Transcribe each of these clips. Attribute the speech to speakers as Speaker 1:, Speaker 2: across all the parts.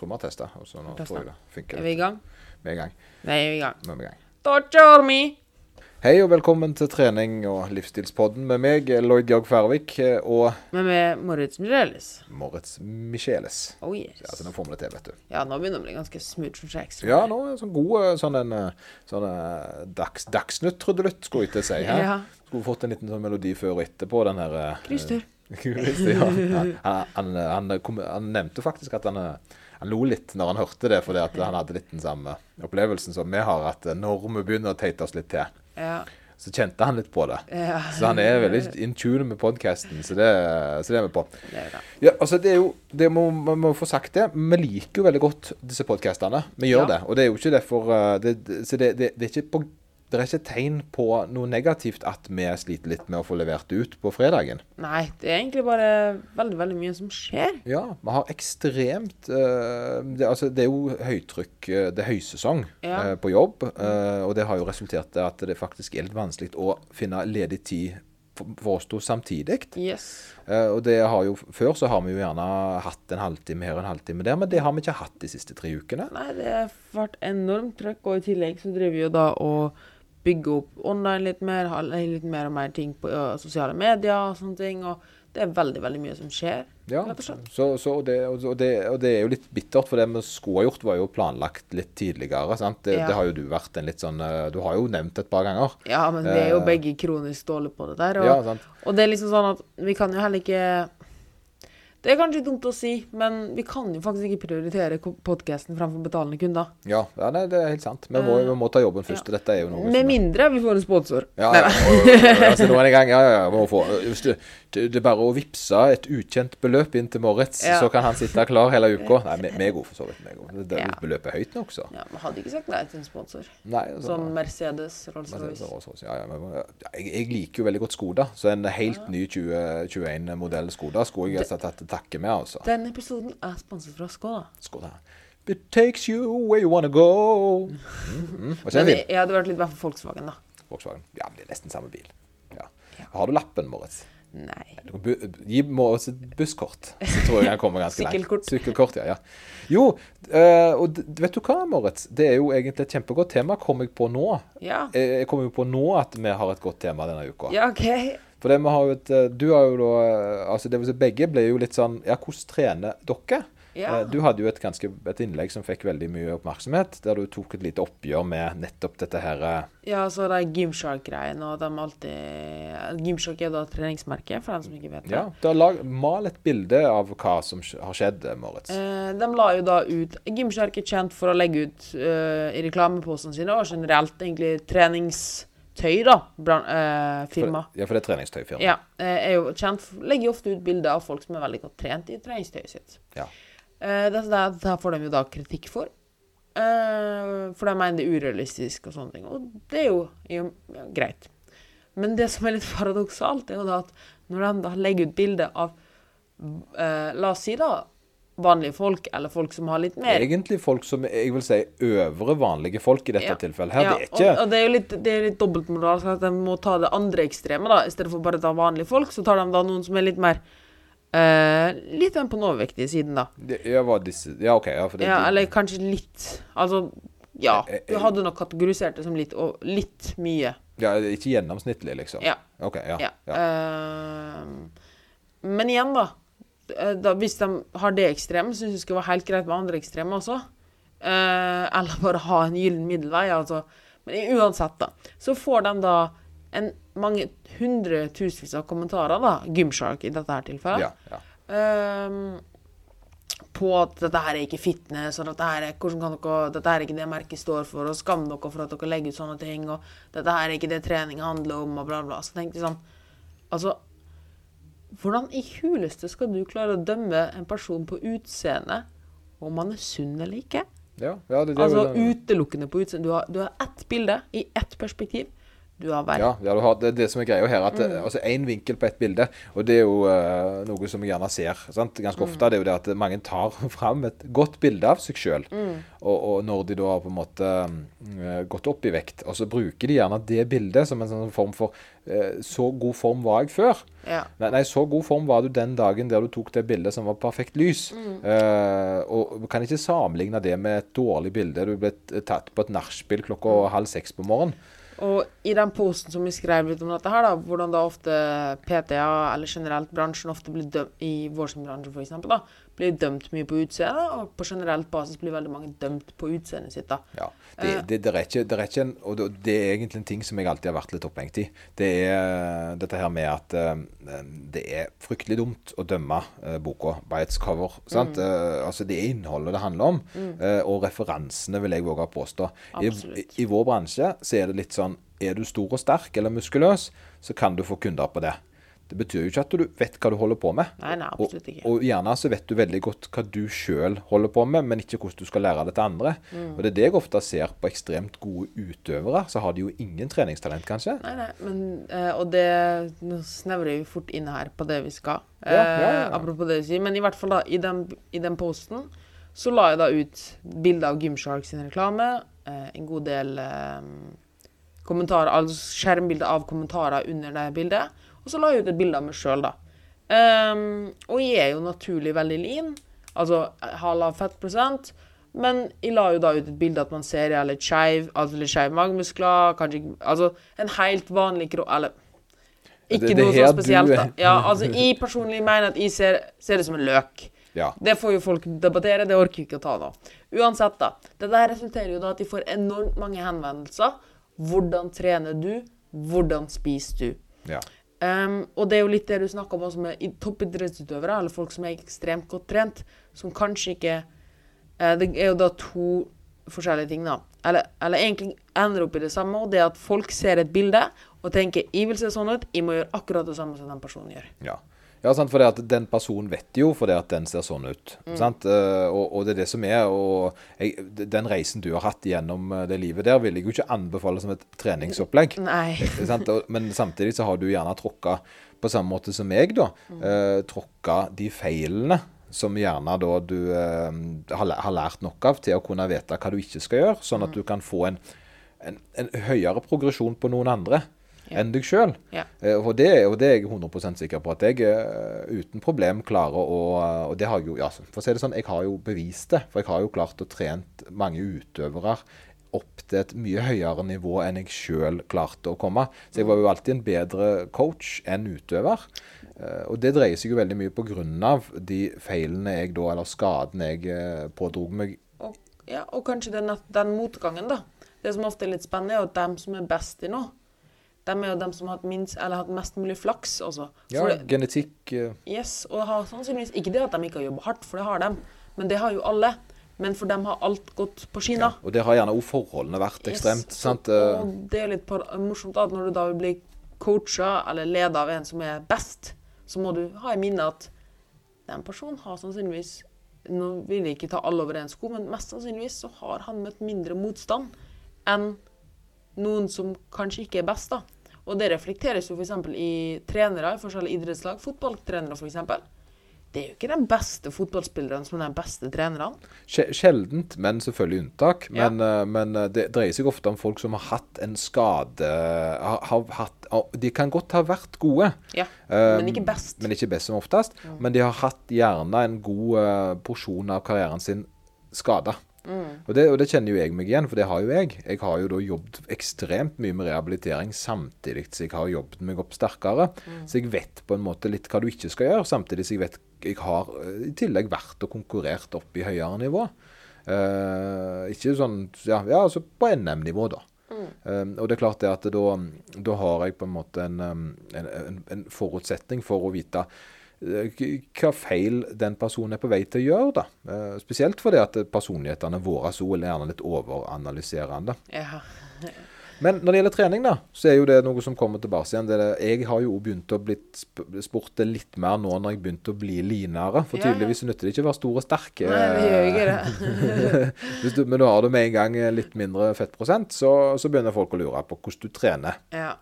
Speaker 1: trommetester. Og så nå
Speaker 2: Tester.
Speaker 1: tror jeg det funker
Speaker 2: Er vi i
Speaker 1: litt.
Speaker 2: gang?
Speaker 1: Vi er i gang.
Speaker 2: Vi er i gang.
Speaker 1: Vi er i gang.
Speaker 2: Da kjører vi!
Speaker 1: Hei og velkommen til trening og livsstilspodden med meg, Lloyd Jørg Færvik, og
Speaker 2: Men med Moritz Mireles.
Speaker 1: Moritz Micheles.
Speaker 2: Oh yes.
Speaker 1: Ja, så nå får vi det til, vet du.
Speaker 2: Ja, nå begynner det å bli ganske smooth and shacks.
Speaker 1: Ja, nå er det sånn god eh, sånn en eh, sånn eh, dags, dagsnytt-trudelutt, skulle jeg til å si. Her.
Speaker 2: Ja.
Speaker 1: Skulle fått en liten sånn melodi før og etterpå, den her eh,
Speaker 2: Kryster.
Speaker 1: Christer, ja. Han, han, han, eh, kom, han nevnte faktisk at han, eh, han lo litt når han hørte det, fordi at han hadde litt den samme opplevelsen som vi har, at eh, når vi begynner å teite oss litt til,
Speaker 2: Ja.
Speaker 1: så kjente han litt på det.
Speaker 2: Ja.
Speaker 1: Eh, Så han er veldig in tune med podkasten, så, det- så det er vi på.
Speaker 2: Det er bra.
Speaker 1: Ja, altså det er jo, det må man må få sagt det, vi liker jo veldig godt disse podkastene. Vi gjør
Speaker 2: Ja.
Speaker 1: det. Og det er jo ikke derfor eh, det, det- Så det, det, det er ikke på det er ikke tegn på noe negativt at vi sliter litt med å få levert det ut på fredagen.
Speaker 2: Nei, det er egentlig bare veldig, veldig mye som skjer.
Speaker 1: Ja, vi har ekstremt eh, det, altså, det er jo høytrykk, eh, det er høysesong
Speaker 2: Ja.
Speaker 1: eh, på jobb. eh, og det har jo resultert i at det faktisk er litt vanskelig å finne ledig tid for, for oss to samtidig.
Speaker 2: Yes.
Speaker 1: Eh, og det har jo, Før så har vi jo gjerne hatt en halvtime her og en halvtime der, men det har vi ikke hatt de siste tre ukene.
Speaker 2: Nei, det har vært enormt trøkk, og i tillegg så driver vi jo da og bygger opp online litt mer, har litt mer og mer ting på ø, sosiale medier og sånne ting, og det er veldig, veldig mye som skjer,
Speaker 1: Ja,
Speaker 2: rett og slett.
Speaker 1: så, så og, det, og, det, og det er jo litt bittert, for det vi skulle ha gjort, var jo planlagt litt tidligere. sant? Det,
Speaker 2: Ja.
Speaker 1: det har jo du vært en litt sånn eh, Du har jo nevnt et par ganger.
Speaker 2: Ja, men vi er jo
Speaker 1: Eh,
Speaker 2: begge kronisk dårlige på det der. Og,
Speaker 1: Ja, sant.
Speaker 2: og det er liksom sånn at vi kan jo heller ikke Det er kanskje dumt å si, men vi kan jo faktisk ikke prioritere podkasten framfor betalende kunder.
Speaker 1: Ja, ja nei, det er helt sant. Vi må, vi må ta jobben først. og Dette er jo noe som-
Speaker 2: Med mindre vi får en sponsor.
Speaker 1: Ja,
Speaker 2: Nei,
Speaker 1: ja,
Speaker 2: nei.
Speaker 1: ja, altså, nå er det i gang. Ja, ja, ja, må få. Hvis du, det, det er bare å vippse et ukjent beløp inn til Moritz,
Speaker 2: Ja.
Speaker 1: så kan han sitte klar hele uka. Nei, vi- vi er gode for så vidt. vi er gode. Det, det,
Speaker 2: Ja.
Speaker 1: Beløpet er høyt nok, så.
Speaker 2: Ja, men hadde ikke sagt nei til en sponsor.
Speaker 1: Nei, altså,
Speaker 2: Sånn Mercedes,
Speaker 1: Mercedes og
Speaker 2: Rolls-Royce.
Speaker 1: Rolls-Royce. Ja, ja, men, ja, jeg, jeg liker jo veldig godt Skoda, så en helt ny 2021-modell Skoda skulle jeg altså tatt til takke med, altså.
Speaker 2: Denne episoden er sponset fra Skoda.
Speaker 1: Skoda. It takes you where you wanna go. Mm, mm. Og så er
Speaker 2: Men
Speaker 1: det
Speaker 2: jeg, jeg hadde vært litt verre for Volkswagen, da.
Speaker 1: Volkswagen. Ja, men det er nesten samme bil. Ja. Har du lappen, Moritz?
Speaker 2: Nei.
Speaker 1: Du kan bu- Gi Moritz et busskort, så tror jeg han kommer ganske langt.
Speaker 2: Sykkelkort.
Speaker 1: Sykkelkort, ja, ja. Jo, eh, og d- vet du hva, Moritz? Det er jo egentlig et kjempegodt tema, kom jeg på nå.
Speaker 2: Ja.
Speaker 1: Eh, Jeg kom jo på nå at vi har et godt tema denne uka.
Speaker 2: Ja, OK.
Speaker 1: For det vi har jo et, eh, du har jo da eh, altså det vil si Begge ble jo litt sånn Ja, hvordan trener dere?
Speaker 2: Ja.
Speaker 1: Eh, Du hadde jo et ganske et innlegg som fikk veldig mye oppmerksomhet, der du tok et lite oppgjør med nettopp dette her eh,
Speaker 2: Ja, så de Gymshark-greiene, og de alltid Gymshark er jo da et treningsmerke, for dem som ikke vet det.
Speaker 1: Ja. Du har lag, mal et bilde av hva som sk- har skjedd, eh, Moritz.
Speaker 2: Eh, de la jo da ut Gymshark er kjent for å legge ut eh, i reklamepostene sine, og generelt egentlig treningstøy, da. Bran, eh, firma.
Speaker 1: For, ja, for det er treningstøyfirma.
Speaker 2: Ja, eh, er jo kjent for, legger jo ofte ut bilder av folk som er veldig godt trent i treningstøyet sitt.
Speaker 1: Ja.
Speaker 2: Eh, det, det, det her får de jo da kritikk for. Eh, for de mener det er urealistisk og sånne ting. Og det er jo, er jo ja, greit. Men det som er litt paradoksalt, er jo da at når de da legger ut bilder av eh, La oss si da vanlige folk, eller folk som har litt mer
Speaker 1: Egentlig folk som jeg vil si øvre vanlige folk i dette
Speaker 2: Ja.
Speaker 1: tilfellet. her,
Speaker 2: Ja,
Speaker 1: Det er ikke
Speaker 2: og, og det er jo litt, det er litt dobbeltmoral. sånn At de må ta det andre ekstreme, da. I stedet for bare å ta vanlige folk, så tar de da noen som er litt mer eh, Litt den på den overvektige siden, da.
Speaker 1: det- ja, var disse, ja, OK. Ja, for det,
Speaker 2: Ja, eller kanskje litt Altså, ja. Du hadde nok kategorisert det som litt, og litt mye.
Speaker 1: ja, ikke gjennomsnittlig, liksom.
Speaker 2: Ja.
Speaker 1: OK. Ja.
Speaker 2: Ja.
Speaker 1: ja.
Speaker 2: Ehm, men igjen, da, eh, da. Hvis de har det ekstreme, syns jeg det skal være helt greit med andre ekstreme også. Eh, eller bare ha en gyllen middelvei. Altså. Men i- uansett, da. Så får de da en mange hundretusenvis av kommentarer, da, Gymshark i dette her tilfellet.
Speaker 1: ja, ja.
Speaker 2: Ehm, på at dette her er ikke fitness, og dette her er, hvordan kan dere, dette her er ikke det merket står for, og skam dere for at dere legger ut sånne ting, og dette her er ikke det trening handler om, og bla, bla. Så tenkte jeg sånn Altså, hvordan i huleste skal du klare å dømme en person på utseende om han er sunn eller ikke?
Speaker 1: ja, ja det, det, er
Speaker 2: Altså
Speaker 1: vel-
Speaker 2: utelukkende på utseende. Du har, du har ett bilde i ett perspektiv. du har hver.
Speaker 1: Ja, ja du har, det, er det som er greia her, at mm. altså én vinkel på ett bilde, og det er jo eh, noe som jeg gjerne ser sant? ganske ofte, det er jo det at mange tar fram et godt bilde av seg sjøl, og, og når de da har på en måte eh, gått opp i vekt, og så bruker de gjerne det bildet som en sånn form for eh, Så god form var jeg før.
Speaker 2: Ja.
Speaker 1: Nei, nei, så god form var du den dagen der du tok det bildet som var perfekt lys. Eh, og du kan ikke sammenligne det med et dårlig bilde du ble t- tatt på et nachspiel klokka halv seks på morgenen.
Speaker 2: Og i den posten som vi skrev litt om dette her, da, hvordan da ofte PTA, eller generelt bransjen, ofte blir dømt, i vår sin bransje for eksempel, da, blir dømt mye på utseende, og på generelt basis blir veldig mange dømt på utseendet sitt, da.
Speaker 1: Ja, det, det, det, er ikke, det er ikke en, og det, det er egentlig en ting som jeg alltid har vært litt opphengt i. Det er dette her med at eh, det er fryktelig dumt å dømme eh, boka by its cover. Sant? Eh, altså det er innholdet det handler om, eh, og referansene vil jeg våge å påstå. I, i,
Speaker 2: Absolutt.
Speaker 1: I vår bransje så er det litt sånn Er du stor og sterk eller muskuløs, så kan du få kunder på det. Det betyr jo ikke at du vet hva du holder på med.
Speaker 2: Nei, nei,
Speaker 1: Og-
Speaker 2: absolutt ikke.
Speaker 1: og gjerne så vet du veldig godt hva du sjøl holder på med, men ikke hvordan du skal lære det til andre. Og det er det jeg ofte ser på ekstremt gode utøvere. Så har de jo ingen treningstalent, kanskje.
Speaker 2: Nei, nei, men, eh, og det Nå snevrer vi fort inn her på det vi skal.
Speaker 1: Ja, ja, ja.
Speaker 2: Eh, apropos det du sier. Men i hvert fall da, i den, i den posten så la jeg da ut bilde av Gymshark sin reklame. Eh, en god del eh, kommentarer, altså skjermbilder av kommentarer under det bildet. Og så la jeg ut et bilde av meg sjøl, da. Ehm, og jeg er jo naturlig veldig lean, altså jeg har lav fettprosent. Men jeg la jo da ut et bilde at man ser jeg er litt skeiv, altså litt skeive magemuskler, kanskje ikke Altså en helt vanlig kro... Eller
Speaker 1: det
Speaker 2: ikke
Speaker 1: er
Speaker 2: noe
Speaker 1: her du
Speaker 2: sånn spesielt, da.
Speaker 1: er-
Speaker 2: Ja, altså jeg personlig mener at jeg ser, ser det som en løk.
Speaker 1: Ja.
Speaker 2: Det får jo folk debattere, det orker vi ikke å ta nå. Uansett, da. Dette her resulterer jo da at de får enormt mange henvendelser. Hvordan trener du? Hvordan spiser du?
Speaker 1: Ja.
Speaker 2: Ehm, og det er jo litt det du snakker om også med i- toppidrettsutøvere, eller folk som er ekstremt godt trent, som kanskje ikke eh, Det er jo da to forskjellige ting, da. Eller, eller egentlig ender opp i det samme, og det er at folk ser et bilde og tenker 'Jeg vil se sånn ut, jeg må gjøre akkurat det samme som den personen gjør'.
Speaker 1: Ja. Ja, sant, for det at Den personen vet jo fordi at den ser sånn ut. sant? Eh, og, og det er det som er. og jeg, Den reisen du har hatt gjennom eh, det livet der, vil jeg jo ikke anbefale som et treningsopplegg.
Speaker 2: Nei.
Speaker 1: Ikke sant? Og- Men samtidig så har du gjerne tråkka på samme måte som jeg, da.
Speaker 2: Mm.
Speaker 1: Eh, tråkka de feilene som gjerne da du eh, har, læ- har lært nok av til å kunne vite hva du ikke skal gjøre, sånn
Speaker 2: Mm.
Speaker 1: at du kan få en, en, en høyere progresjon på noen andre enn deg sjøl.
Speaker 2: Ja.
Speaker 1: Eh, Og det, og det er jeg 100 sikker på at jeg eh, uten problem klarer å eh, Og det har jeg jo ja, For å si det sånn, jeg har jo bevist det. For jeg har jo klart å trent mange utøvere opp til et mye høyere nivå enn jeg sjøl klarte å komme. Så jeg var jo alltid en bedre coach enn utøver. Eh, Og det dreier seg jo veldig mye på grunn av de feilene jeg da, eller skadene jeg eh, pådro meg.
Speaker 2: Og, ja, og kanskje den, den motgangen, da. Det som ofte er litt spennende, er jo at dem som er best i noe, dem er jo dem som har hatt minst, eller hatt mest mulig flaks, altså.
Speaker 1: Ja,
Speaker 2: For det,
Speaker 1: genetikk eh,
Speaker 2: yes, og har sannsynligvis ikke det at de ikke har jobba hardt, for det har dem, men det har jo alle. Men for dem har alt gått på skinner.
Speaker 1: Og der har gjerne òg forholdene vært ekstremt.
Speaker 2: Yes.
Speaker 1: sant? Eh,
Speaker 2: Og det er litt par morsomt da, at når du da vil bli coacha eller leda av en som er best, så må du ha i minne at den personen har sannsynligvis Nå vil jeg ikke ta alle over en sko, men mest sannsynligvis så har han møtt mindre motstand enn noen som kanskje ikke er best, da. Og det reflekteres jo f.eks. i trenere i forskjellige idrettslag. Fotballtrenere, f.eks. Det er jo ikke de beste fotballspillerne som er de beste trenerne.
Speaker 1: Sje- Sjeldent, men selvfølgelig unntak.
Speaker 2: Ja.
Speaker 1: Men, eh, men eh, det dreier seg ofte om folk som har hatt en skade eh, har, har hatt, ah, De kan godt ha vært gode,
Speaker 2: Ja,
Speaker 1: eh,
Speaker 2: men ikke best. Mm.
Speaker 1: men ikke best som oftest. Men de har hatt gjerne en god eh, porsjon av karrieren sin skada.
Speaker 2: Mm.
Speaker 1: Og, det, og det kjenner jo jeg meg igjen, for det har jo jeg. Jeg har jo da jobbet ekstremt mye med rehabilitering samtidig som jeg har jobbet meg opp sterkere.
Speaker 2: Mm.
Speaker 1: Så jeg vet på en måte litt hva du ikke skal gjøre, samtidig som jeg vet jeg har eh, i tillegg vært og konkurrert opp i høyere nivå. Eh, ikke sånn Ja, ja altså på NM-nivå, da.
Speaker 2: Mm.
Speaker 1: Eh, og det er klart det at da, da har jeg på en måte en, eh, en, en, en forutsetning for å vite eh, k- hva feil den personen er på vei til å gjøre. da. Eh, Spesielt fordi at personlighetene våre så er gjerne litt overanalyserende.
Speaker 2: Ja.
Speaker 1: Men når det gjelder trening, da, så er jo det noe som kommer tilbake igjen. Det er det, jeg har jo også begynt å bli sp- spurt det litt mer nå når jeg begynte å bli linere. For
Speaker 2: Ja, ja.
Speaker 1: tydeligvis nytter det ikke å være stor og sterk.
Speaker 2: Nei, det gjør
Speaker 1: eh,
Speaker 2: ikke det.
Speaker 1: Hvis du, men du har det med en gang eh, litt mindre fettprosent, så, så begynner folk å lure på hvordan du trener.
Speaker 2: Ja.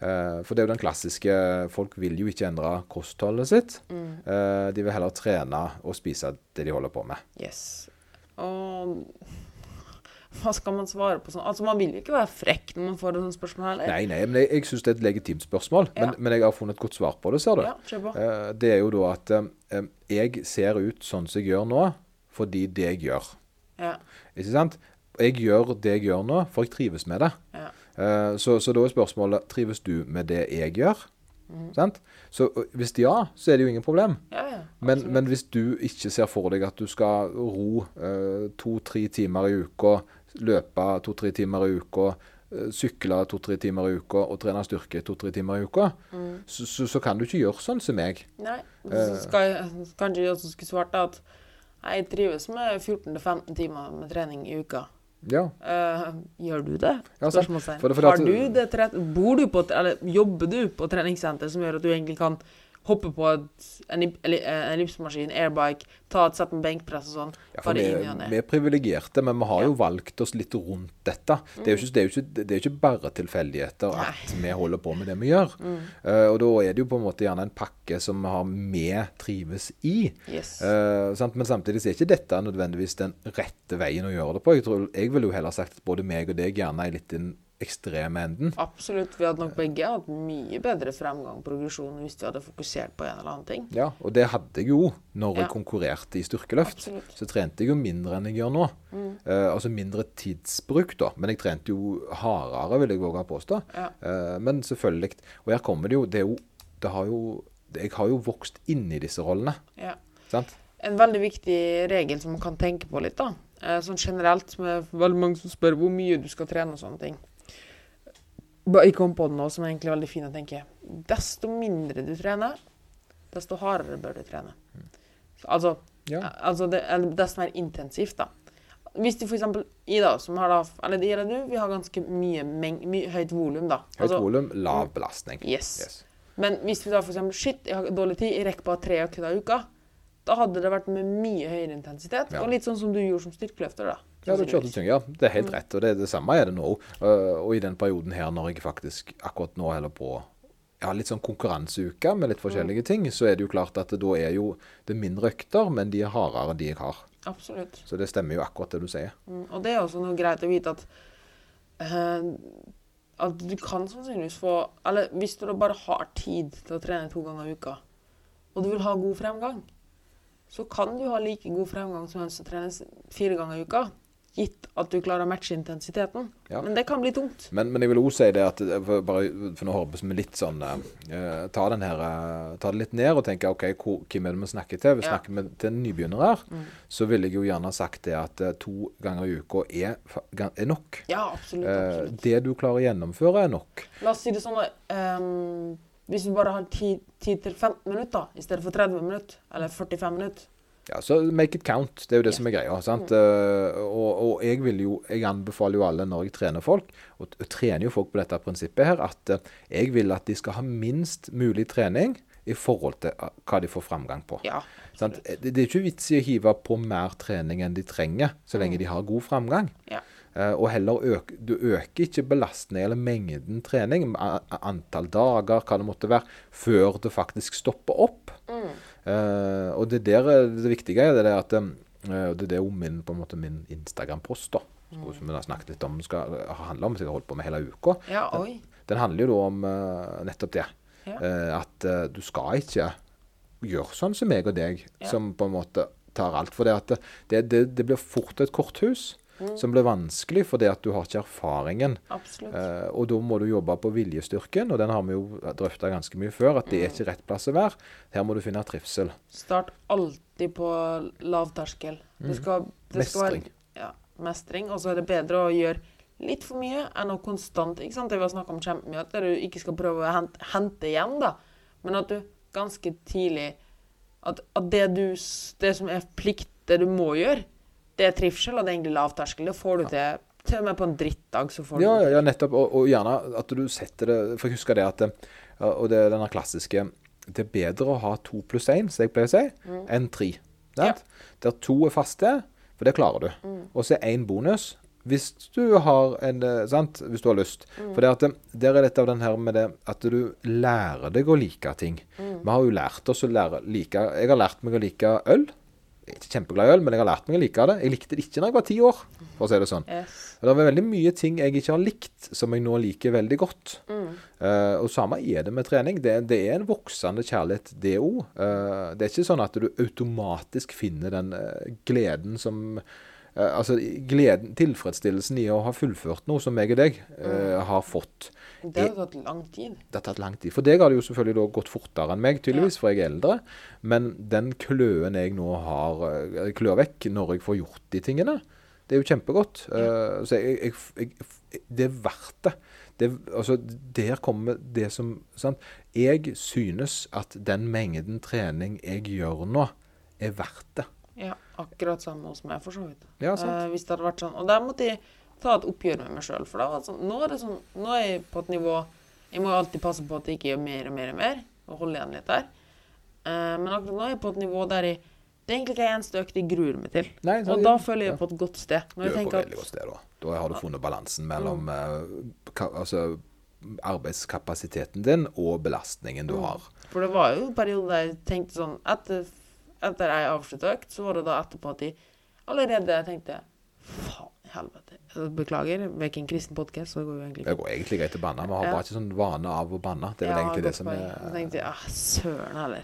Speaker 1: Eh, for det er jo den klassiske Folk vil jo ikke endre kostholdet sitt.
Speaker 2: Mm.
Speaker 1: Eh, de vil heller trene og spise det de holder på med.
Speaker 2: Yes. Og hva skal man svare på sånn? Altså, man vil jo ikke være frekk når man får et sånt spørsmål heller.
Speaker 1: Nei, nei, men jeg, jeg syns det er et legitimt spørsmål.
Speaker 2: Eh. Ja.
Speaker 1: Men, men jeg har funnet et godt svar på det, ser du.
Speaker 2: Ja, kjør på.
Speaker 1: Eh, det er jo da at eh, jeg ser ut sånn som jeg gjør nå, fordi det jeg gjør.
Speaker 2: Ja.
Speaker 1: Ikke sant? Jeg gjør det jeg gjør nå, for jeg trives med det.
Speaker 2: Ja.
Speaker 1: Eh, så, så da er spørsmålet trives du med det jeg gjør. Sant? Så ø, hvis ja, så er det jo ingen problem.
Speaker 2: Ja, ja.
Speaker 1: Men, men hvis du ikke ser for deg at du skal ro eh, to-tre timer i uka, løpe to-tre timer i uka, eh, sykle to-tre timer i uka og trene styrke to-tre timer i uka, så, så, så kan du ikke gjøre sånn som meg.
Speaker 2: Nei.
Speaker 1: Eh.
Speaker 2: Så skal jeg, kanskje jeg også skulle svart da at jeg trives med 14-15 timer med trening i uka.
Speaker 1: Ja.
Speaker 2: Eh, gjør du det?
Speaker 1: Ja, sant.
Speaker 2: Spørsmålstegn.
Speaker 1: For det- for det
Speaker 2: Har
Speaker 1: at-
Speaker 2: du det tre... Bor du på et- Eller jobber du på et treningssenter som gjør at du egentlig kan hoppe på et, en, ellip- eller, eh, ellipsemaskin, airbike, ta et sett med benkpress og sånn?
Speaker 1: Ja, for
Speaker 2: bare
Speaker 1: vi,
Speaker 2: inn i og
Speaker 1: vi
Speaker 2: ned.
Speaker 1: er privilegerte, men vi har jo valgt oss litt rundt dette. Det er jo ikke, det er jo ikke, det er jo ikke bare tilfeldigheter at vi holder på med det vi gjør. Eh, og da er det jo på en måte gjerne en pakke som vi har med trives i.
Speaker 2: Yes.
Speaker 1: Eh, sant? Men samtidig så er ikke dette nødvendigvis den rette veien å gjøre det på. Jeg, tror, jeg ville jo heller sagt at både meg og deg gjerne er litt i den ekstreme enden.
Speaker 2: Absolutt. Vi hadde nok begge hatt mye bedre fremgang og progresjon hvis vi hadde fokusert på en eller annen ting.
Speaker 1: Ja, og det hadde jeg jo når
Speaker 2: Ja.
Speaker 1: jeg konkurrerte i styrkeløft.
Speaker 2: Absolutt. Mm.
Speaker 1: Så trente jeg jo mindre enn jeg gjør nå. Eh, altså mindre tidsbruk, da. Men jeg trente jo hardere, vil jeg våge å påstå.
Speaker 2: Ja.
Speaker 1: Eh, men selvfølgelig. Og her kommer det jo Det, er jo, det har jo det, Jeg har jo vokst inn i disse rollene.
Speaker 2: Ja.
Speaker 1: Sant?
Speaker 2: En veldig viktig regel som man kan tenke på litt, da. Eh, Sånn generelt, med veldig mange som spør hvor mye du skal trene og sånne ting. Bare Jeg kom på den nå, som er egentlig veldig fin å tenke. Desto mindre du trener, desto hardere bør du trene. Altså,
Speaker 1: Ja.
Speaker 2: eh, altså det, eller desto mer intensivt, da. Hvis du f.eks. Ida, som har da, eller det gjelder du, vi har ganske mye, meng, mye høyt volum, da.
Speaker 1: Høyt volum, lav belastning.
Speaker 2: Altså, mm. Yes.
Speaker 1: Yes.
Speaker 2: Men hvis vi da for eksempel, shit, jeg har dårlig tid, jeg rekker bare tre økter i uka, da hadde det vært med mye høyere intensitet.
Speaker 1: Ja.
Speaker 2: Og litt sånn som du gjorde som styrkeløfter, da.
Speaker 1: Ja, du kjørte tyngre. Ja, det Sånn Mm. er helt rett. Og det, det samme er det nå òg. og i den perioden her når jeg faktisk akkurat nå holder på ja, litt sånn konkurranseuke med litt forskjellige ting, så er det jo klart at det, da er jo det er mindre økter, men de er hardere enn de jeg har.
Speaker 2: Absolutt.
Speaker 1: Så det stemmer jo akkurat det du sier.
Speaker 2: Mm, Og det er også noe greit å vite at eh, at du kan sannsynligvis få Eller hvis du da bare har tid til å trene to ganger i uka, og du vil ha god fremgang, så kan du ha like god fremgang som en som trener fire ganger i uka, gitt at du klarer å matche intensiteten.
Speaker 1: Ja.
Speaker 2: Men det kan bli tungt.
Speaker 1: Men, men jeg vil òg si det at eh, for, bare, for nå høres vi litt sånn eh, ta, den her, eh, ta det litt ned og tenke OK, hvor, hvem er det vi snakker til? Vi
Speaker 2: Ja.
Speaker 1: snakker med, til en nybegynner her. Så ville jeg jo gjerne sagt det at eh, to ganger i uka er, fa- gan- er nok.
Speaker 2: Ja, absolutt.
Speaker 1: Eh,
Speaker 2: absolutt.
Speaker 1: det du klarer å gjennomføre, er nok.
Speaker 2: La oss si det sånn da, ehm, hvis vi bare har 10-15 minutter i stedet for 30 minutter, eller 45 minutter.
Speaker 1: Ja, så make it count. Det er jo det som er greia.
Speaker 2: Mm.
Speaker 1: sant? Eh, og, og jeg vil jo, jeg anbefaler jo alle når jeg trener folk, og, og trener jo folk på dette prinsippet her, at eh, jeg vil at de skal ha minst mulig trening i forhold til eh, hva de får framgang på.
Speaker 2: Ja.
Speaker 1: Sant? Eh, Det, det er ikke vits i å hive på mer trening enn de trenger, så
Speaker 2: Mm.
Speaker 1: lenge de har god framgang.
Speaker 2: Ja.
Speaker 1: Eh, og heller øk, du øker ikke belastningen eller mengden trening, a- a- antall dager, hva det måtte være, før det faktisk stopper opp. Eh, og det der er det viktige er det der at um, eh, Det er det jo min, på en måte min Instagram-post, da. Som vi har snakket litt om, skal handle om, som jeg har holdt på med hele uka.
Speaker 2: Ja, oi.
Speaker 1: Den handler jo da om eh, nettopp det.
Speaker 2: Ja.
Speaker 1: Eh, at eh, du skal ikke gjøre sånn som meg og deg,
Speaker 2: Ja.
Speaker 1: som på en måte tar alt. For det, at det, det, det, det blir fort et korthus
Speaker 2: Mm.
Speaker 1: som blir vanskelig fordi at du har ikke erfaringen.
Speaker 2: Absolutt.
Speaker 1: Eh, og da må du jobbe på viljestyrken, og den har vi jo drøfta ganske mye før, at det
Speaker 2: Mm.
Speaker 1: er ikke rett plass å være. Her må du finne trivsel.
Speaker 2: Start alltid på lavterskel. Det skal, det skal være-
Speaker 1: Mhm. Mestring.
Speaker 2: ja, mestring. Og så er det bedre å gjøre litt for mye enn å konstant ikke sant? Det vi har snakket om kjempemye, at du ikke skal prøve å hente, hente igjen, da. men at du ganske tidlig At, at det, du, s- det som er plikt, det du må gjøre, det er trivsel, og det er egentlig lavterskel. Det får du til Til og med på en drittdag så får du
Speaker 1: Ja, ja, ja nettopp. Og, og gjerne at du setter det For jeg husker det at eh, Og det er denne klassiske Det er bedre å ha to pluss én, som jeg pleier å si, enn tre. sant? Der to er faste, for det klarer du. Og så er én bonus hvis du har en eh, sant? Hvis du har lyst. For det at, eh, der er dette av den her med det at du lærer deg å like ting. Vi har jo lært oss å lære like Jeg har lært meg å like øl. Jeg er ikke kjempeglad i øl, men jeg har lært meg å like det. Jeg likte det ikke da jeg var ti år, for å si det sånn.
Speaker 2: Yes.
Speaker 1: Og Det er veldig mye ting jeg ikke har likt, som jeg nå liker veldig godt. Eh, og samme er det med trening. Det, det er en voksende kjærlighet, det òg. det er ikke sånn at du automatisk finner den eh, gleden som eh, Altså gleden, tilfredsstillelsen i å ha fullført noe som jeg og deg eh, har fått.
Speaker 2: Det har jo tatt lang tid.
Speaker 1: Det har tatt lang tid. For deg har det jo selvfølgelig da gått fortere enn meg, tydeligvis, for jeg er eldre. Men den kløen jeg nå har eh, klør vekk når jeg får gjort de tingene, det er jo kjempegodt. Eh, så jeg, jeg, jeg, jeg, det er verdt det. det. Altså, der kommer det som sant? Jeg synes at den mengden trening jeg gjør nå, er verdt det.
Speaker 2: Ja, akkurat samme hos meg, for så vidt.
Speaker 1: Ja, sant.
Speaker 2: Eh, hvis det hadde vært sånn. Og der måtte jeg ta et oppgjør med meg sjøl. For da var det sånn, nå er det sånn Nå er jeg på et nivå Jeg må jo alltid passe på at jeg ikke gjør mer og mer og mer. Og holde igjen litt der. Eh, men akkurat nå er jeg på et nivå der jeg Det er egentlig ikke en eneste økt jeg gruer meg til.
Speaker 1: Nei, så-
Speaker 2: og da føler jeg på et godt sted. Når
Speaker 1: Du
Speaker 2: jeg
Speaker 1: er på
Speaker 2: tenker Mm. at
Speaker 1: veldig godt sted da. Da har du funnet balansen mellom eh, ka, altså, arbeidskapasiteten din og belastningen du
Speaker 2: Mm.
Speaker 1: har.
Speaker 2: For det var jo en periode der jeg tenkte sånn Etter, etter jeg avslutta økt, så var det da etterpå at jeg allerede tenkte Faen i helvete. Beklager, vi er ikke en kristen podkast, så det går jo egentlig
Speaker 1: Det går egentlig greit å banne. Vi har
Speaker 2: Ja.
Speaker 1: bare ikke sånn vane av å banne. Det er vel
Speaker 2: Ja,
Speaker 1: egentlig det
Speaker 2: godt
Speaker 1: som
Speaker 2: poeng. Så
Speaker 1: er
Speaker 2: tenkte jeg, ah, søren heller.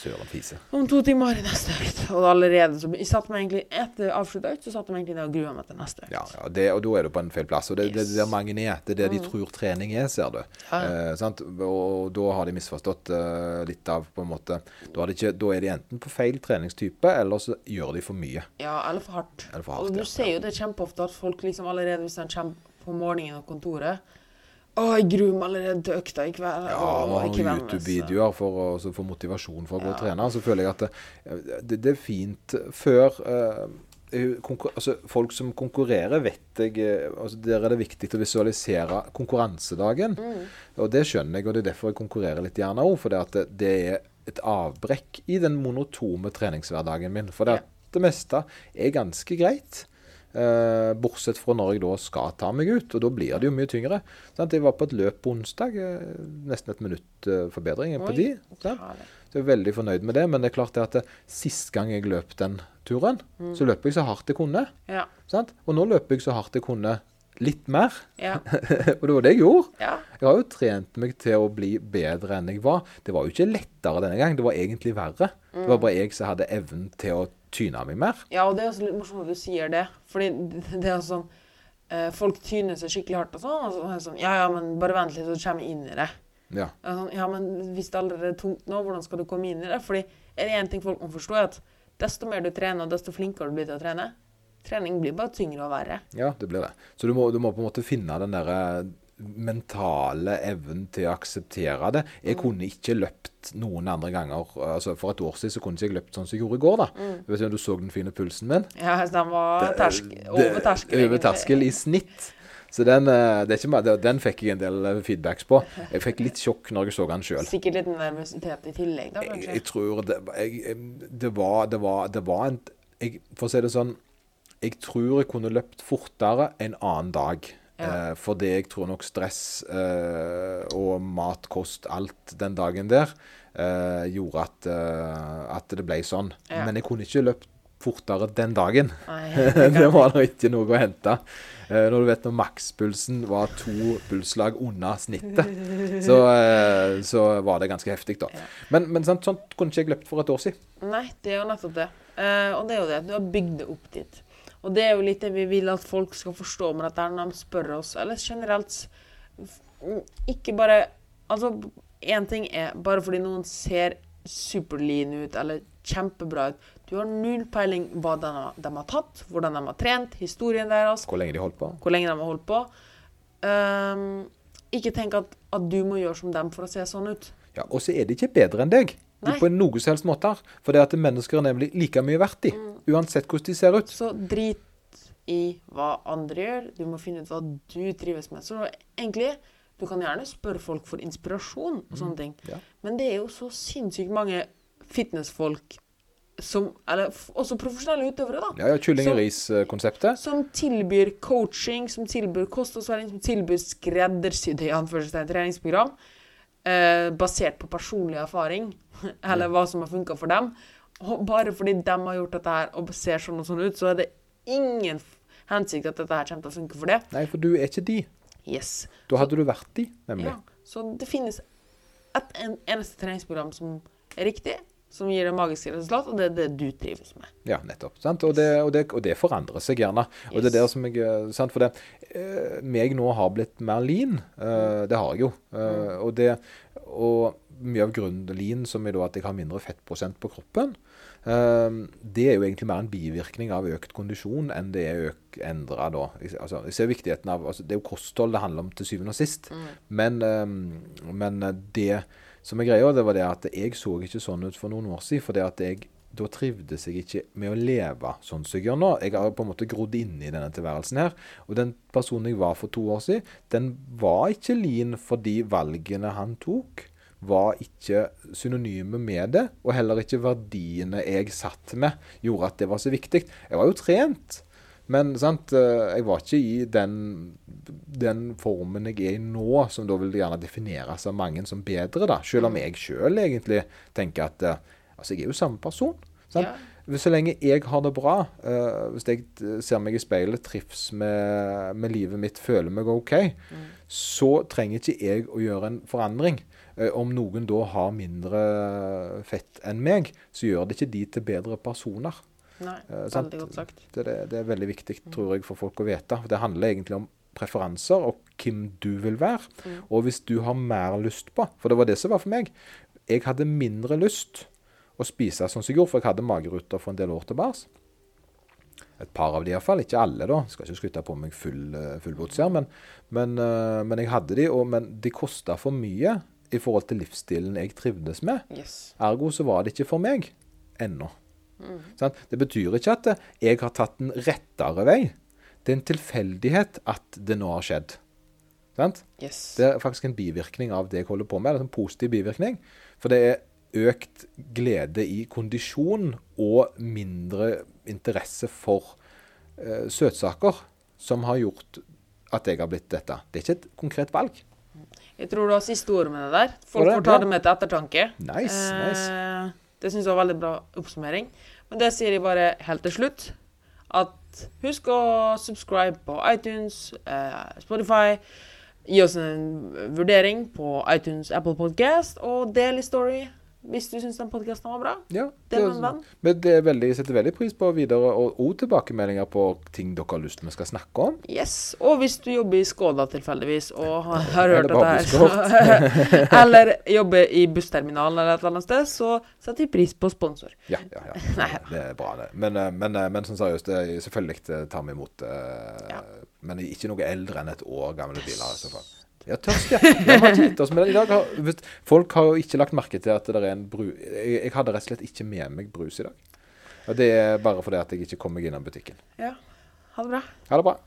Speaker 1: søren fise.
Speaker 2: Om to timer er neste økt. Og allerede så jeg satte meg egentlig, etter avslutta økt, så satte jeg meg egentlig ned og grua meg til neste økt.
Speaker 1: Ja, ja det, og da er du på en feil plass. Og det, det, det er der mange er. Det er det de tror trening er, ser du.
Speaker 2: Mm. Ja.
Speaker 1: Eh, sant? Og da har de misforstått eh, litt av på en måte da, har de ikke, da er de enten på feil treningstype, eller så gjør de for mye.
Speaker 2: Ja, eller for hardt.
Speaker 1: Eller for hardt,
Speaker 2: og du
Speaker 1: ja.
Speaker 2: ser jo det kjempeofte at folk liksom allerede hvis de kommer på morgenen og kontoret Å, jeg gruer meg allerede til økta i kveld.
Speaker 1: Ja,
Speaker 2: Å,
Speaker 1: man har
Speaker 2: ikke
Speaker 1: noen
Speaker 2: hvem vet, så-
Speaker 1: YouTube-videoer for å så få motivasjon for å gå og
Speaker 2: Ja.
Speaker 1: trene. Så føler jeg at det, det, det er fint før eh, konkur altså, Folk som konkurrerer, vet jeg eh, altså, Der er det viktig å visualisere konkurransedagen. Og det skjønner jeg, og det er derfor jeg konkurrerer litt gjerne òg. For det, at det, det er et avbrekk i den monotome treningshverdagen min. For det, at det meste er ganske greit. Eh, bortsett fra når jeg da skal ta meg ut, og da blir det jo mye tyngre. Sant? Jeg var på et løp på onsdag, eh, nesten et minutt eh, forbedring på
Speaker 2: Oi,
Speaker 1: de. Sant?
Speaker 2: herlig.
Speaker 1: Så jeg er veldig fornøyd med det, men det er klart det at det, sist gang jeg løp den turen, så løp jeg så hardt jeg kunne.
Speaker 2: Ja.
Speaker 1: Sant? Og nå løper jeg så hardt jeg kunne litt mer,
Speaker 2: Ja.
Speaker 1: og det var det jeg gjorde.
Speaker 2: ja.
Speaker 1: Jeg har jo trent meg til å bli bedre enn jeg var. Det var jo ikke lettere denne gang, det var egentlig verre. Det var bare jeg som hadde evnen til å tyne meg mer.
Speaker 2: Ja, og det er også litt morsomt at du sier det. Fordi det er jo sånn eh, Folk tyner seg skikkelig hardt og sånn. Og så er det sånn Ja, ja, men bare vent litt, så kommer jeg inn i det.
Speaker 1: Ja.
Speaker 2: Det er Sånn, ja, men hvis det allerede er tungt nå, hvordan skal du komme inn i det? Fordi er det én ting folk må forstå, er at desto mer du trener, og desto flinkere du blir til å trene. Trening blir bare tyngre og verre.
Speaker 1: Ja, det blir det. Så du må, du må på en måte finne den der eh, mentale evnen til å akseptere det. Jeg
Speaker 2: Mm.
Speaker 1: kunne ikke løpt noen andre ganger. altså For et år siden så kunne ikke jeg løpt sånn som jeg gjorde i går. da. Jeg vet ikke om du så den fine pulsen min?
Speaker 2: Ja, så den var tersk,
Speaker 1: Det-
Speaker 2: Mm. over terskel.
Speaker 1: Over terskel i snitt. Så den, eh, det er ikke, meg- den fikk jeg en del eh, feedbacks på. Jeg fikk litt sjokk når jeg så den sjøl.
Speaker 2: Sikkert litt nervøsitet i tillegg, da,
Speaker 1: Jeg,
Speaker 2: kanskje.
Speaker 1: jeg tror det, jeg, jeg- det var Det var, det var en jeg, For å si det sånn Jeg tror jeg kunne løpt fortere en annen dag.
Speaker 2: Ja.
Speaker 1: Eh, fordi jeg tror nok stress eh, og mat, kost, alt den dagen der eh, gjorde at, eh, at det ble sånn.
Speaker 2: Ja.
Speaker 1: Men jeg kunne ikke løpt fortere den dagen.
Speaker 2: Nei,
Speaker 1: det var da ikke noe å hente. Eh, når du vet når makspulsen var to pulslag unna snittet, så, eh, så var det ganske heftig, da. Men, men sant, sånt kunne ikke jeg løpt for et år siden.
Speaker 2: Nei, det er jo nettopp det. Eh, og det er jo det. Du har bygd det opp dit. Og det er jo litt det vi vil at folk skal forstå med dette her når de spør oss, eller generelt s- f- mm, Ikke bare Altså, én ting er bare fordi noen ser superlean ut eller kjempebra ut Du har null peiling hva de har, de har tatt, hvordan de har trent, historien deres,
Speaker 1: Hvor lenge de holdt på.
Speaker 2: hvor lenge de har holdt på. Ehm, ikke tenk at, at du må gjøre som dem for å se sånn ut.
Speaker 1: Ja, og så er de ikke bedre enn deg.
Speaker 2: Nei.
Speaker 1: På noe som helst
Speaker 2: Mm.
Speaker 1: måte. For det at mennesker er nemlig like mye verdt, de. Uansett hvordan de ser ut.
Speaker 2: Så drit i hva andre gjør. Du må finne ut hva du trives med. Så egentlig, du kan gjerne spørre folk for inspirasjon og sånne ting.
Speaker 1: ja.
Speaker 2: Men det er jo så sinnssykt mange fitnessfolk som Eller f- også profesjonelle utøvere, da.
Speaker 1: Ja, ja, kylling
Speaker 2: Så-
Speaker 1: og eh, ris-konseptet.
Speaker 2: Som tilbyr coaching, som tilbyr kost og svelging, som tilbyr skreddersydde i anførselstegn treningsprogram, eh, basert på personlig erfaring, eller hva som har funka for dem. Og bare fordi de har gjort dette her og ser sånn og sånn ut, så er det ingen f- hensikt at dette her kommer til å funke for det.
Speaker 1: Nei, for du er ikke de.
Speaker 2: Yes.
Speaker 1: Da hadde du vært de, nemlig.
Speaker 2: Ja. Så det finnes et en, eneste treningsprogram som er riktig, som gir det magiske resultat, og det er det du trives med.
Speaker 1: Ja, nettopp. Sant? Og, det, og, det, og det forandrer seg gjerne. Og det er der som jeg eh, sant? For det, eh, meg nå har blitt mer lean. eh, det har jeg jo. Eh, og, det, og mye av grunnen til lean, som er da at jeg har mindre fettprosent på kroppen, eh, det er jo egentlig mer en bivirkning av økt kondisjon enn det er øk, endra da. Jeg, altså, jeg ser viktigheten av altså, Det er jo kosthold det handler om til syvende og sist. Men, eh, men det som er greia, det var det at jeg så ikke sånn ut for noen år siden. For det at jeg da trivdes jeg ikke med å leve sånn som jeg gjør nå. Jeg har på en måte grodd inn i denne tilværelsen her. Og den personen jeg var for to år siden, den var ikke lean fordi valgene han tok, var ikke synonyme med det. Og heller ikke verdiene jeg satt med, gjorde at det var så viktig. Jeg var jo trent. Men sant, eh, jeg var ikke i den, den formen jeg er i nå, som da vil gjerne defineres av mange som bedre, da. Selv om jeg sjøl egentlig tenker at eh, altså, jeg er jo samme person. Sant?
Speaker 2: Ja.
Speaker 1: Så lenge jeg har det bra, eh, hvis jeg eh, ser meg i speilet, trives med, med livet mitt, føler meg OK, så trenger ikke jeg å gjøre en forandring. Eh, om noen da har mindre fett enn meg, så gjør det ikke de til bedre personer.
Speaker 2: Nei,
Speaker 1: Eh, sant.
Speaker 2: veldig godt sagt.
Speaker 1: Det, det, det er veldig viktig, tror jeg, for folk å vite. For Det handler egentlig om preferanser og hvem du vil være. Og hvis du har mer lyst på For det var det som var for meg. Jeg hadde mindre lyst å spise sånn som jeg gjorde, for jeg hadde mageruter for en del år tilbake. Et par av de iallfall. Ikke alle, da. Skal ikke skryte på meg full, eh, fullgods her, men, men, eh, men jeg hadde de. Og, men de kosta for mye i forhold til livsstilen jeg trivdes med.
Speaker 2: Yes.
Speaker 1: Ergo så var det ikke for meg ennå. Sant? Det betyr ikke at eh, jeg har tatt den rettere vei. Det er en tilfeldighet at det nå har skjedd. Sant?
Speaker 2: Yes.
Speaker 1: Det er faktisk en bivirkning av det jeg holder på med. Det er en positiv bivirkning. For det er økt glede i kondisjon og mindre interesse for eh, søtsaker som har gjort at jeg har blitt dette. Det er ikke et konkret valg.
Speaker 2: Jeg tror du har siste ordet med det der. Folk
Speaker 1: Var det
Speaker 2: får ta
Speaker 1: bra?
Speaker 2: det med til ettertanke.
Speaker 1: Nice, nice.
Speaker 2: Eh, Det syns jeg var veldig bra oppsummering. Men det sier jeg bare helt til slutt. At husk å subscribe på iTunes, eh, Spotify. Gi oss en vurdering på iTunes, Apple Podcast og del i Story hvis du syns den podkasten var bra.
Speaker 1: Ja,
Speaker 2: Del med en venn.
Speaker 1: Men det er veldig, jeg setter veldig pris på videre og, og tilbakemeldinger på ting dere har lyst til vi skal snakke om.
Speaker 2: Yes, Og hvis du jobber i Skåda tilfeldigvis og har, har
Speaker 1: Eller
Speaker 2: hørt dette her, eller jobber i bussterminalen eller et eller annet sted, så setter vi pris på sponsor.
Speaker 1: Ja, ja, ja. Det er bra, det. Men, eh, men, eh, men sånn seriøst, det er- selvfølgelig eh, tar vi imot eh,
Speaker 2: Ja.
Speaker 1: Men ikke noe eldre enn et år gamle biler. i så fall. Ja, tørst, ja. Vi har ikke gitt oss med det. I dag har, vet, folk har jo ikke lagt merke til at det er en bru... Jeg, jeg hadde rett og slett ikke med meg brus i dag. Og det er bare fordi at jeg ikke kom meg innom butikken.
Speaker 2: Ja. Ha det bra.
Speaker 1: Ha det bra.